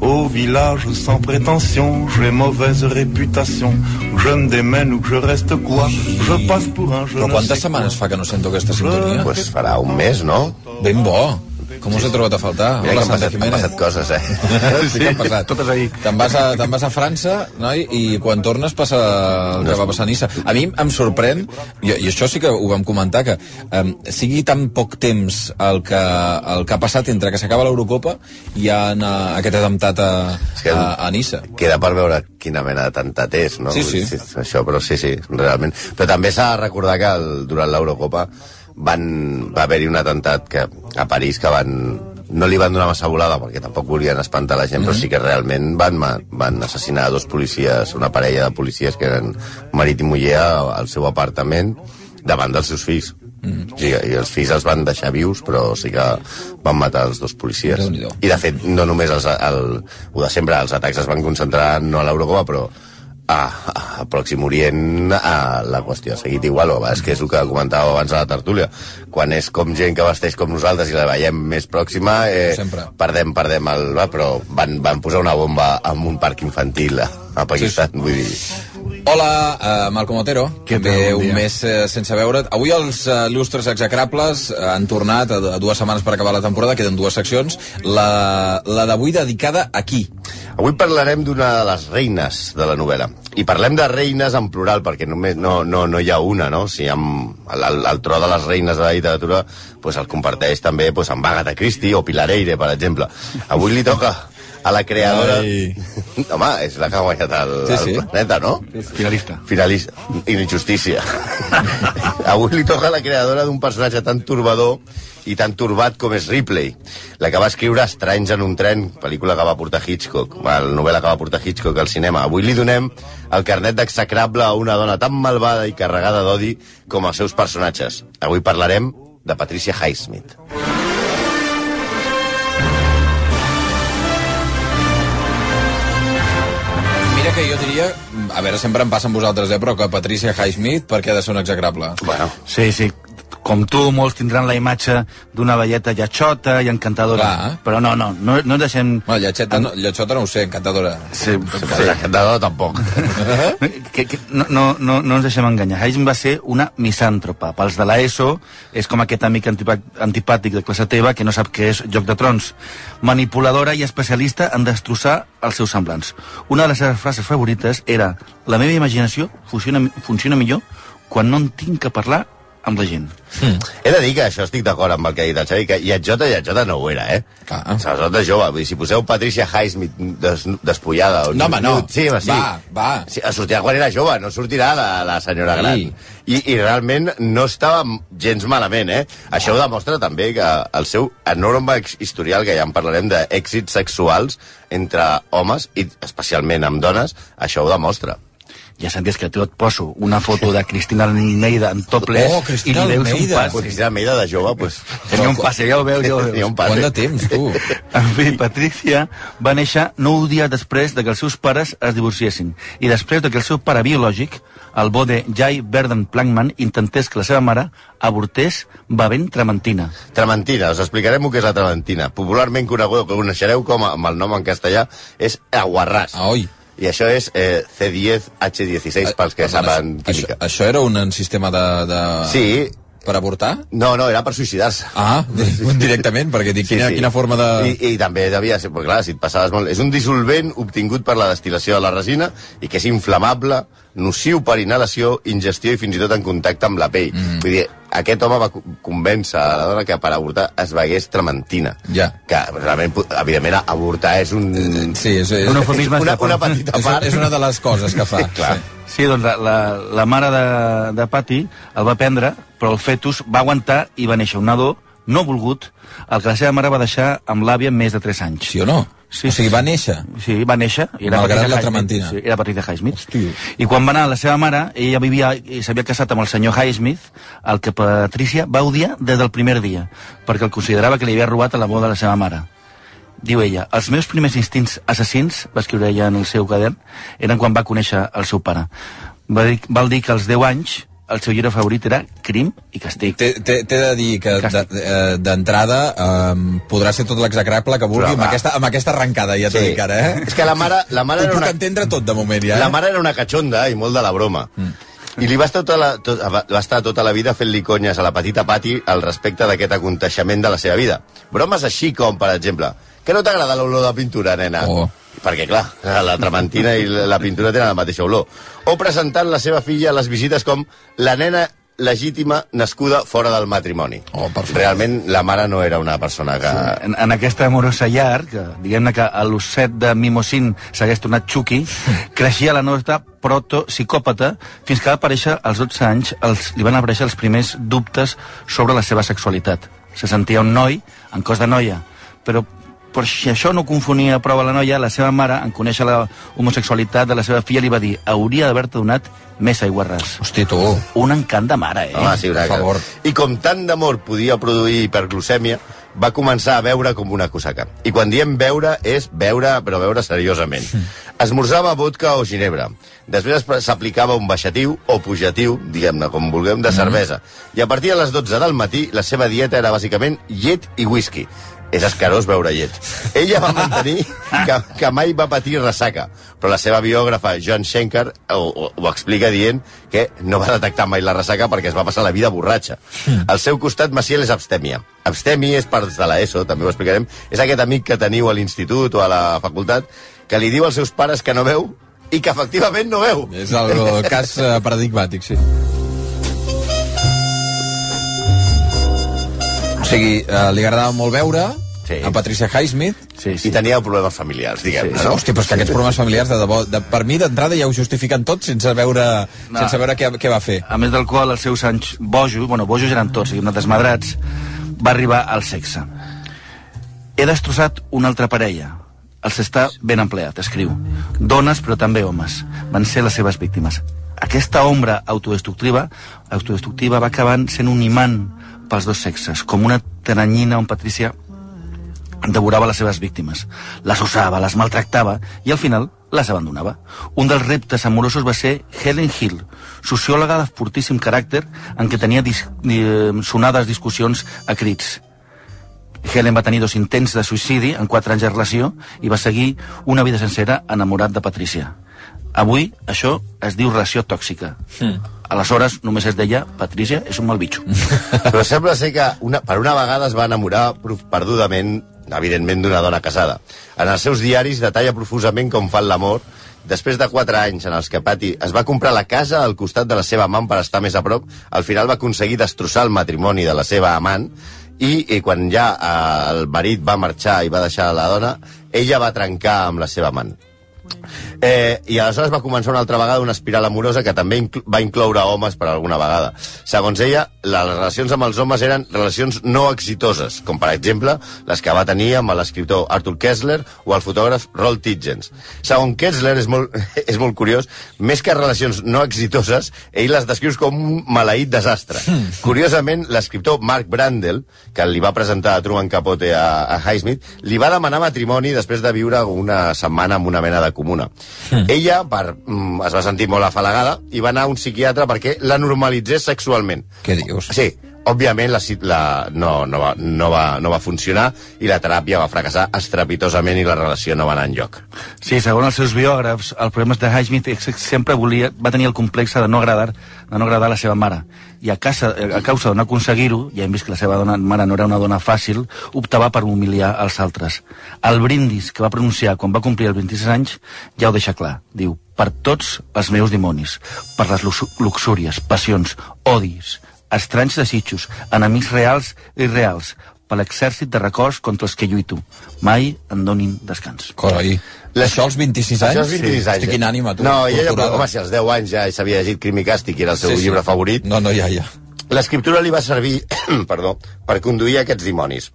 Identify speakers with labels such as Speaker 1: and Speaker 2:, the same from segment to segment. Speaker 1: Au village sans prétention, j'ai mauvaise réputation. Où je me démène ou que je reste quoi, je passe pour un jeune.
Speaker 2: Però quantes setmanes fa que no sento aquesta sintonia?
Speaker 3: Pues Doncs farà un mes, no?
Speaker 2: Ben bo. Com us he trobat a faltar? Hola,
Speaker 3: Mira que han
Speaker 2: Santa
Speaker 3: passat, han
Speaker 2: Jiménez.
Speaker 3: passat coses, eh?
Speaker 2: Sí, que han passat.
Speaker 3: Totes ahir.
Speaker 2: Te'n vas, a, te'n vas a França, noi, i quan tornes passa el que va passar a Nissa. A mi em sorprèn, i, i això sí que ho vam comentar, que um, sigui tan poc temps el que, el que ha passat entre que s'acaba l'Eurocopa i en, uh, aquest atemptat a,
Speaker 3: que-
Speaker 2: a, a Nissa.
Speaker 3: Queda per veure quina mena de tantat és, no?
Speaker 2: Sí, sí.
Speaker 3: Això, però sí, sí, realment. Però també s'ha de recordar que el, durant l'Eurocopa van, va haver-hi un atemptat que, a París que van no li van donar massa volada perquè tampoc volien espantar la gent, mm -hmm. però
Speaker 2: Mm-hmm.
Speaker 3: sí que realment van, ma- van assassinar dos policies, una parella de policies que eren marit i muller a- al seu apartament davant dels seus fills. Mm
Speaker 2: Mm-hmm.
Speaker 3: -hmm. I, I els fills els van deixar vius, però sí que van matar els dos policies.
Speaker 2: Déu-n'hi-do.
Speaker 3: I de fet, no només els, el, el de sempre, els atacs es van concentrar no a l'Eurocopa, però a, a, a Pròxim Orient a la qüestió ha seguit igual, o és que és el que comentàveu abans a la tertúlia. Quan és com gent que vesteix com nosaltres i la veiem més pròxima, eh,
Speaker 2: Sempre.
Speaker 3: perdem, perdem el... Va, però van, van posar una bomba en un parc infantil a, a Pakistan, sí. vull dir...
Speaker 2: Hola, uh, Malcom Otero.
Speaker 4: Què tal?
Speaker 2: Bé,
Speaker 4: Bon
Speaker 2: un
Speaker 4: dia.
Speaker 2: mes eh, sense veure't. Avui els uh, il·lustres execrables eh, han tornat a, a dues setmanes per acabar la temporada, queden dues seccions. La, la d'avui dedicada a qui?
Speaker 3: Avui parlarem d'una de les reines de la novel·la. I parlem de reines en plural, perquè només no, no, no hi ha una, no? Si amb el, el, el tro de les reines de la literatura pues el comparteix també pues, amb Agatha Christie o Pilar Eire, per exemple. Avui li toca a la creadora...
Speaker 4: Ai.
Speaker 3: Home, és la que ha guanyat el,
Speaker 2: Sí,
Speaker 3: el
Speaker 2: sí.
Speaker 3: planeta, no?
Speaker 4: Finalista.
Speaker 3: Finalista. Injustícia. Avui li toca a la creadora d'un personatge tan turbador i tan turbat com és Ripley, la que va escriure Estranys en un tren, pel·lícula que va portar Hitchcock, la novel·la que va portar Hitchcock al cinema. Avui li donem el carnet d'execrable a una dona tan malvada i carregada d'odi com els seus personatges. Avui parlarem de Patricia Highsmith.
Speaker 2: Mira que jo diria, a veure, sempre em passa amb vosaltres, eh, però que Patricia Highsmith, per què ha de ser un execrable?
Speaker 3: Bueno,
Speaker 4: Sí, sí, com tu, molts tindran la imatge d'una velleta llatxota i encantadora.
Speaker 2: Clar.
Speaker 4: Però no, no, no, no ens deixem...
Speaker 2: Bueno, lletxeta, no, lletxota no ho sé, encantadora.
Speaker 4: Sí,
Speaker 3: sí. la cantadora tampoc. Eh?
Speaker 4: que, que, no, no, no, no ens deixem enganyar. Haydn va ser una misàntropa. Pels de l'ESO és com aquest amic antipa- antipàtic de classe teva que no sap què és Joc de Trons. Manipuladora i especialista en destrossar els seus semblants. Una de les seves frases favorites era la meva imaginació funciona, mi- funciona millor quan no en tinc que parlar amb la gent.
Speaker 3: He de dir que això estic d'acord amb el que ha dit el Xavi, que lletjota, lletjota no ho era, eh?
Speaker 2: Clar.
Speaker 3: Aleshores, jove, vull dir, si poseu Patricia Highsmith des, despullada... O
Speaker 2: No, home, no.
Speaker 3: Sí, home, sí.
Speaker 2: Va, va.
Speaker 3: Sí, sortirà quan era jove, no sortirà la, la senyora
Speaker 2: Sí.
Speaker 3: gran. I, I realment no estava gens malament, eh? Això ho demostra també que el seu enorme ex- historial, que ja en parlarem, d'èxits sexuals entre homes i especialment amb dones, això ho demostra.
Speaker 4: Ja senties que tu et poso una foto de Cristina Almeida en topless
Speaker 2: Oh, Cristina
Speaker 4: i li veus un
Speaker 2: Almeida.
Speaker 4: pas.
Speaker 3: Quan era Meida de jove, doncs...
Speaker 4: Tenia un passe, ja ho veus, ja ho veus.
Speaker 3: Tenia un passe.
Speaker 2: Quant de temps, tu?
Speaker 4: En fi, Patricia va néixer nou dies després de que els seus pares es divorciessin i després de que el seu pare biològic, el bo de Jai Verden Plankman, intentés que la seva mare avortés bevent trementina.
Speaker 3: Trementina, us explicarem el que és la trementina. Popularment coneguda, que coneixereu com a, amb el nom en castellà, és aguarràs.
Speaker 2: Ah, oi.
Speaker 3: I això és eh, C10H16, pels que
Speaker 2: Perdona,
Speaker 3: saben
Speaker 2: això,
Speaker 3: química.
Speaker 2: Eh, això era un sistema de... de...
Speaker 3: Sí.
Speaker 2: Per avortar?
Speaker 3: No, no, era per suïcidar-se.
Speaker 2: Ah, directament, perquè dic, quina, quina forma de...
Speaker 3: I, I també devia ser, perquè clar, si et passaves molt... És un dissolvent obtingut per la destil·lació de la resina i que és inflamable, nociu per inhalació, ingestió i fins i tot en contacte amb la pell. Mm. Vull dir, aquest home va co- convèncer a la dona que per avortar es vegués trementina.
Speaker 2: Ja.
Speaker 3: Que, realment, po- evidentment, avortar és un...
Speaker 2: Sí, és, és,
Speaker 4: Un
Speaker 2: és,
Speaker 4: eufemisme
Speaker 3: una,
Speaker 4: de-
Speaker 3: una petita
Speaker 2: una-
Speaker 3: part...
Speaker 2: és una de les coses que fa.
Speaker 3: Clar.
Speaker 2: Sí.
Speaker 4: Sí, doncs la, la, la mare de, de Patty el va prendre, però el fetus va aguantar i va néixer un nadó no volgut, el que la seva mare va deixar amb l'àvia més de 3 anys.
Speaker 2: Sí o no? o
Speaker 4: Sí,
Speaker 2: sigui,
Speaker 4: sí.
Speaker 2: va néixer.
Speaker 4: Sí, va néixer. I era
Speaker 2: Malgrat
Speaker 4: Patricia
Speaker 2: la
Speaker 4: Highsmith.
Speaker 2: trementina.
Speaker 4: Sí, era Patricia Highsmith.
Speaker 2: Hòstia.
Speaker 4: I quan va anar la seva mare, ella vivia i s'havia casat amb el senyor Highsmith, el que Patricia va odiar des del primer dia, perquè el considerava que li havia robat a la boda de la seva mare. Diu ella, els meus primers instints assassins, va escriure ella en el seu cadern, eren quan va conèixer el seu pare. Va dir, val dir que als 10 anys el seu llibre favorit era Crim i Castell.
Speaker 2: T'he t'he- t'he de dir que de-
Speaker 4: Càstig.
Speaker 2: eh, d'entrada um, podrà ser tot l'execrable que vulgui
Speaker 3: Però,
Speaker 2: amb
Speaker 3: va.
Speaker 2: aquesta, amb aquesta arrencada, ja t'ho
Speaker 3: Sí.
Speaker 2: dic ara, eh?
Speaker 3: És que la mare- la mare
Speaker 2: Ho
Speaker 3: era
Speaker 2: puc
Speaker 3: una-
Speaker 2: entendre tot, de moment, ja. eh?
Speaker 3: La mare era una catxonda i molt de la broma. Mm. I li va estar, tota la, tot, va va estar tota la vida fent-li conyes a la petita Pati al respecte d'aquest aconteixement de la seva vida. Bromes així com, per exemple, que no t'agrada l'olor de pintura, nena?
Speaker 2: Oh.
Speaker 3: Perquè, clar, la trementina i la pintura tenen la mateixa olor. O presentant la seva filla a les visites com la nena legítima nascuda fora del matrimoni.
Speaker 2: Oh, per favor.
Speaker 3: Realment, la mare no era una persona que... Sí.
Speaker 4: Eh, en, en aquesta amorosa llar, que diguem-ne que a l'osset de Mimosín s'hagués tornat Chucky, creixia la nostra proto-psicòpata fins que va aparèixer als 12 anys, els, li van aparèixer els primers dubtes sobre la seva sexualitat. Se sentia un noi en cos de noia, però per si això no confonia prou a la noia, la seva mare, en conèixer la homosexualitat de la seva filla, li va dir hauria d'haver-te donat més aiguarràs.
Speaker 2: Hosti, tu.
Speaker 4: Un encant de mare, eh?
Speaker 3: Home, sí, una
Speaker 2: per
Speaker 3: cosa.
Speaker 2: favor.
Speaker 3: I com tant d'amor podia produir hiperglucèmia, va començar a beure com una cosaca. I quan diem beure, és beure, però beure seriosament. Esmorzava vodka o ginebra. Després es- s'aplicava un baixatiu o pujatiu, diguem-ne com vulguem,
Speaker 2: Mhm.
Speaker 3: de cervesa. I a partir de les 12 del matí, la seva dieta era bàsicament llet i whisky. És escarós beure llet. Ella va mantenir que, que mai va patir ressaca, però la seva biògrafa, John Schenker, ho, ho, ho explica dient que no va detectar mai la ressaca perquè es va passar la vida borratxa.
Speaker 2: Hmm.
Speaker 3: Al seu costat, Maciel és abstèmia. Abstèmia és part de l'ESO, també ho explicarem. És aquest amic que teniu a l'institut o a la facultat que li diu als seus pares que no veu i que efectivament no veu.
Speaker 2: És el, el cas eh, paradigmàtic, sí. O sigui, eh, li agradava molt veure
Speaker 3: Sí.
Speaker 2: a Patricia Highsmith.
Speaker 4: Sí,
Speaker 3: I tenia problemes familiars, diguem-ne.
Speaker 2: Sí, Hòstia, però és que aquests problemes familiars, de debò, de, per mi, d'entrada ja ho justifiquen tot sense veure,
Speaker 4: No.
Speaker 2: sense veure què, què va fer.
Speaker 4: a més del qual els seus anys bojos, bueno, bojos eren tots, diguem-ne, desmadrats, va arribar al sexe. He destrossat una altra parella. Els està ben empleat, escriu. Dones, però també homes. Van ser les seves víctimes. Aquesta ombra autodestructiva, autodestructiva va acabar sent un imant pels dos sexes, com una teranyina, un patricia devorava les seves víctimes, les usava, les maltractava i al final les abandonava. Un dels reptes amorosos va ser Helen Hill, sociòloga de fortíssim caràcter en què tenia dis eh, sonades discussions a crits. Helen va tenir dos intents de suïcidi en quatre anys de relació i va seguir una vida sencera enamorat de Patricia. Avui això es diu relació tòxica. Mm. Aleshores només es deia Patricia és un mal bitxo.
Speaker 3: Però sembla ser que una, per una vegada es va enamorar prof- perdudament, evidentment, d'una dona casada. En els seus diaris detalla profusament com fan l'amor Després de 4 anys en els que Patty es va comprar la casa al costat de la seva amant per estar més a prop, al final va aconseguir destrossar el matrimoni de la seva amant i, i quan ja eh, el marit va marxar i va deixar la dona, ella va trencar amb la seva amant. Eh, I aleshores va començar una altra vegada una espiral amorosa que també incl va incloure homes per alguna vegada. Segons ella, les relacions amb els homes eren relacions no exitoses, com per exemple les que va tenir amb l'escriptor Arthur Kessler o el fotògraf Roald Tidgens. Segons Kessler, és molt, és molt curiós, més que relacions no exitoses, ell les descriu com un maleït desastre. Curiosament, l'escriptor Mark Brandel, que li va presentar a Truman Capote a, a Highsmith, li va demanar matrimoni després de viure una setmana amb una mena de comuna. Ella per, mm, es va sentir molt afalagada i va anar a un psiquiatre perquè la normalitzés sexualment.
Speaker 2: Què dius?
Speaker 3: Sí, òbviament la, ci- la, no, no, va, no, va, no va funcionar i la teràpia va fracassar estrepitosament i la relació no va anar enlloc.
Speaker 4: Sí, segons els seus biògrafs, el problema és de Highsmith és que sempre volia, va tenir el complex de no agradar de no agradar a la seva mare. I a, casa, a causa de no aconseguir-ho, ja hem vist que la seva dona, mare no era una dona fàcil, optava per humiliar els altres. El brindis que va pronunciar quan va complir els 26 anys ja ho deixa clar. Diu, per tots els meus dimonis, per les luxu- luxúries, passions, odis, estranys desitjos, enemics reals i reals, per l'exèrcit de records contra els que lluito. Mai em donin descans.
Speaker 2: Coi.
Speaker 3: Les-
Speaker 2: Això als 26 anys?
Speaker 3: Això és 26 anys.
Speaker 2: Hosti,
Speaker 3: eh?
Speaker 2: quina ànima, tu.
Speaker 3: No, i ella,
Speaker 2: torturada.
Speaker 3: home, si als 10 anys ja s'havia llegit Crim i Càstig, i era el seu sí, llibre sí. favorit,
Speaker 2: No, no, ja, ja.
Speaker 3: L'escriptura li va servir perdó, per conduir aquests dimonis.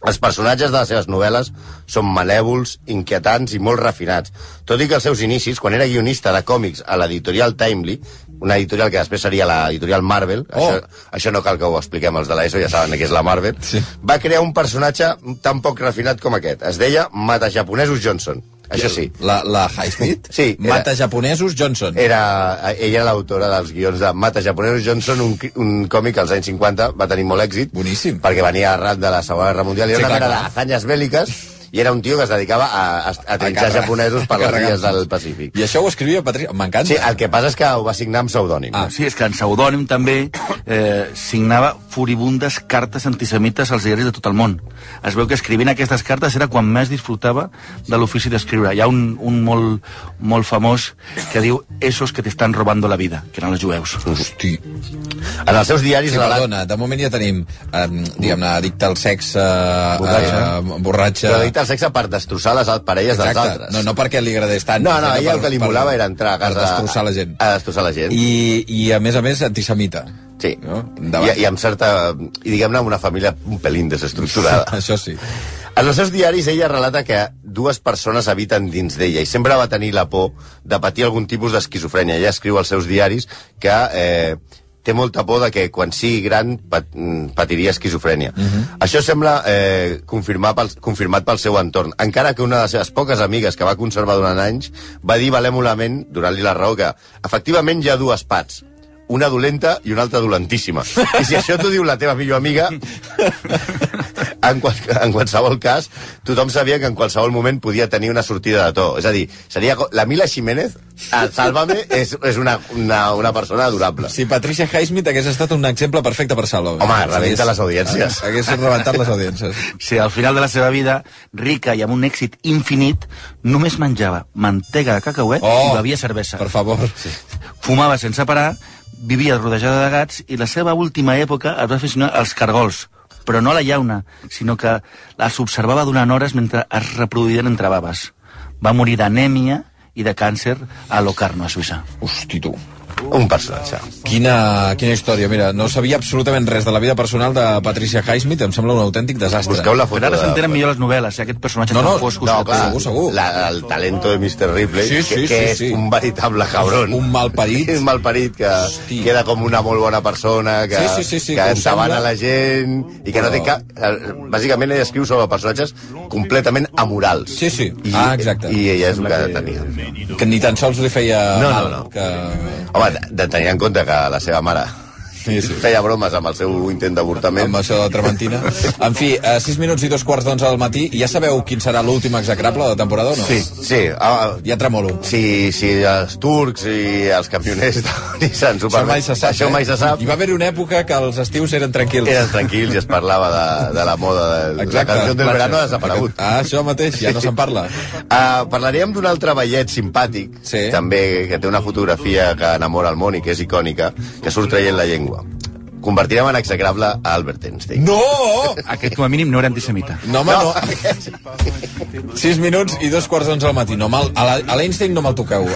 Speaker 3: Els personatges de les seves novel·les són malèvols, inquietants i molt refinats, tot i que els seus inicis, quan era guionista de còmics a l'editorial Timely, una editorial que després seria l'editorial Marvel, oh. això, això no cal que ho expliquem els de l'ESO, ja saben que és la Marvel, sí. va crear un personatge tan poc refinat com aquest. Es deia Mata Japonesos Johnson. Això sí.
Speaker 2: La, la High Speed?
Speaker 3: Sí, era- Eh.
Speaker 2: Mata japonesos Johnson.
Speaker 3: Era, ella era l'autora dels guions de Mata Japonesos Johnson, un, cri- un còmic als anys 50, va tenir molt èxit.
Speaker 2: Boníssim.
Speaker 3: Perquè venia arran de la Segona Guerra Mundial. Era
Speaker 2: Sí,
Speaker 3: sí, una
Speaker 2: clar,
Speaker 3: mena
Speaker 2: clar.
Speaker 3: d'azanyes bèl·liques i era un tio que es dedicava a, a, a trinxar
Speaker 2: carregar-
Speaker 3: japonesos per les
Speaker 2: carregar-se.
Speaker 3: illes del Pacífic.
Speaker 2: I això ho escrivia Patrick... M'encanta.
Speaker 3: Sí, el que passa és que ho va signar amb pseudònim.
Speaker 2: Ah.
Speaker 3: Ah.
Speaker 4: Sí, és que en pseudònim també eh, signava furibundes cartes antisemites als diaris de tot el món. Es veu que escrivint aquestes cartes era quan més disfrutava de l'ofici d'escriure. Hi ha un, un molt, molt famós que diu «Esos que t'estan robando la vida», que eren els jueus.
Speaker 2: Hosti,
Speaker 3: En els seus diaris...
Speaker 2: Sí,
Speaker 3: relat-
Speaker 2: perdona, de moment ja tenim, um, diguem-ne, addicte al sexe,
Speaker 3: Borratxa.
Speaker 2: eh, borratxa...
Speaker 3: Però dit el sexe per destrossar les al- parelles dels
Speaker 2: Exacte.
Speaker 3: altres.
Speaker 2: No, no perquè li agradés tant.
Speaker 3: No, no,
Speaker 2: sinó
Speaker 3: ella el que li molava era entrar a
Speaker 2: per
Speaker 3: casa...
Speaker 2: destrossar la gent.
Speaker 3: A destrossar la gent.
Speaker 2: I, I, a més a més, antisemita.
Speaker 3: Sí.
Speaker 2: No?
Speaker 3: I, I amb certa... I diguem-ne amb una família un pelín desestructurada.
Speaker 2: Això sí.
Speaker 3: en els seus diaris ella relata que dues persones habiten dins d'ella i sempre va tenir la por de patir algun tipus d'esquizofrènia. Ella escriu als seus diaris que... Eh, té molta por de que quan sigui gran pat, mm, patiria esquizofrènia. Això sembla eh, confirmar pel, confirmat pel seu entorn, encara que una de les seves poques amigues que va conservar durant anys va dir valèmolament, donant-li la raó, que efectivament hi ha dues parts, una dolenta i una altra dolentíssima. I si això t'ho diu la teva millor amiga, en, qual, en qualsevol cas, tothom sabia que en qualsevol moment podia tenir una sortida de to. És a dir, seria co- la Mila Jiménez, a Sálvame, és, és una, una, una persona adorable.
Speaker 2: Si Patricia Highsmith hagués estat un exemple perfecte per Salva.
Speaker 3: Home, rebenta les audiències.
Speaker 2: Hagués rebentat les audiències.
Speaker 4: Si al final de la seva vida, rica i amb un èxit infinit, només menjava mantega de cacauet i bevia cervesa.
Speaker 2: Per favor.
Speaker 4: Fumava sense parar, vivia rodejada de gats i la seva última època es va aficionar als cargols, però no a la llauna, sinó que els observava durant hores mentre es reproduïen entre baves. Va morir d'anèmia i de càncer a Locarno, a Suïssa.
Speaker 2: Hosti, tu.
Speaker 3: Un personatge.
Speaker 2: Quina, quina història, mira, no sabia absolutament res de la vida personal de Patricia Highsmith, em sembla un autèntic desastre.
Speaker 3: Busqueu la foto
Speaker 4: Però ara
Speaker 3: de-
Speaker 4: s'entenen millor les novel·les, eh, aquest personatge
Speaker 2: No,
Speaker 4: tan
Speaker 2: no,
Speaker 4: fosc.
Speaker 3: No,
Speaker 2: Segur,
Speaker 3: clar,
Speaker 2: segur, segur.
Speaker 3: La, el talento de Mr. Ripley,
Speaker 2: Sí, sí,
Speaker 3: que,
Speaker 2: sí,
Speaker 3: que és
Speaker 2: sí.
Speaker 3: un veritable cabrón.
Speaker 2: Un malparit.
Speaker 3: un malparit que,
Speaker 2: Hosti.
Speaker 3: que era com una molt bona persona, que,
Speaker 2: Sí, sí, sí, sí,
Speaker 3: que
Speaker 2: que ho sembla.
Speaker 3: endavana la gent, i que no té
Speaker 2: Però-
Speaker 3: cap... eh, Bàsicament ella escriu sobre personatges completament amorals.
Speaker 2: Sí, sí.
Speaker 3: I,
Speaker 2: Ah, exacte.
Speaker 3: I ella és el que tenia.
Speaker 2: Que ni tan sols li feia
Speaker 3: No, no,
Speaker 2: mal.
Speaker 3: no.
Speaker 2: Que...
Speaker 3: Home, de, de tenir en compte que la seva mare
Speaker 2: Sí, sí.
Speaker 3: feia bromes amb el seu intent d'avortament.
Speaker 2: amb això de la trementina. En fi, a 6 minuts i dos quarts d'onze del matí, ja sabeu quin serà l'últim execrable de la temporada o no?
Speaker 3: Sí, sí. Ah,
Speaker 2: Ja tremolo.
Speaker 3: si, si els turcs i els campioners de Nissan
Speaker 2: Això
Speaker 3: Superman...
Speaker 2: mai se sap.
Speaker 3: Això mai se sap.
Speaker 2: Eh? Hi va haver una època que els estius eren tranquils.
Speaker 3: Eren tranquils i es parlava de, de la moda. De, la
Speaker 2: Exacte.
Speaker 3: canció del
Speaker 2: Platges.
Speaker 3: verano ha desaparegut.
Speaker 2: Ah, això mateix, ja no se'n parla.
Speaker 3: Uh, parlaríem d'un altre ballet simpàtic,
Speaker 2: Sí.
Speaker 3: també que té una fotografia que enamora el món i que és icònica, que surt traient la llengua. Convertirem en execrable a Albert Einstein.
Speaker 2: No!
Speaker 4: Aquest, com a mínim, no era antisemita.
Speaker 2: No, home, no. 6 minuts i dos quarts d'onze del matí. No, mal, a la- a l'Einstein no me'l toqueu.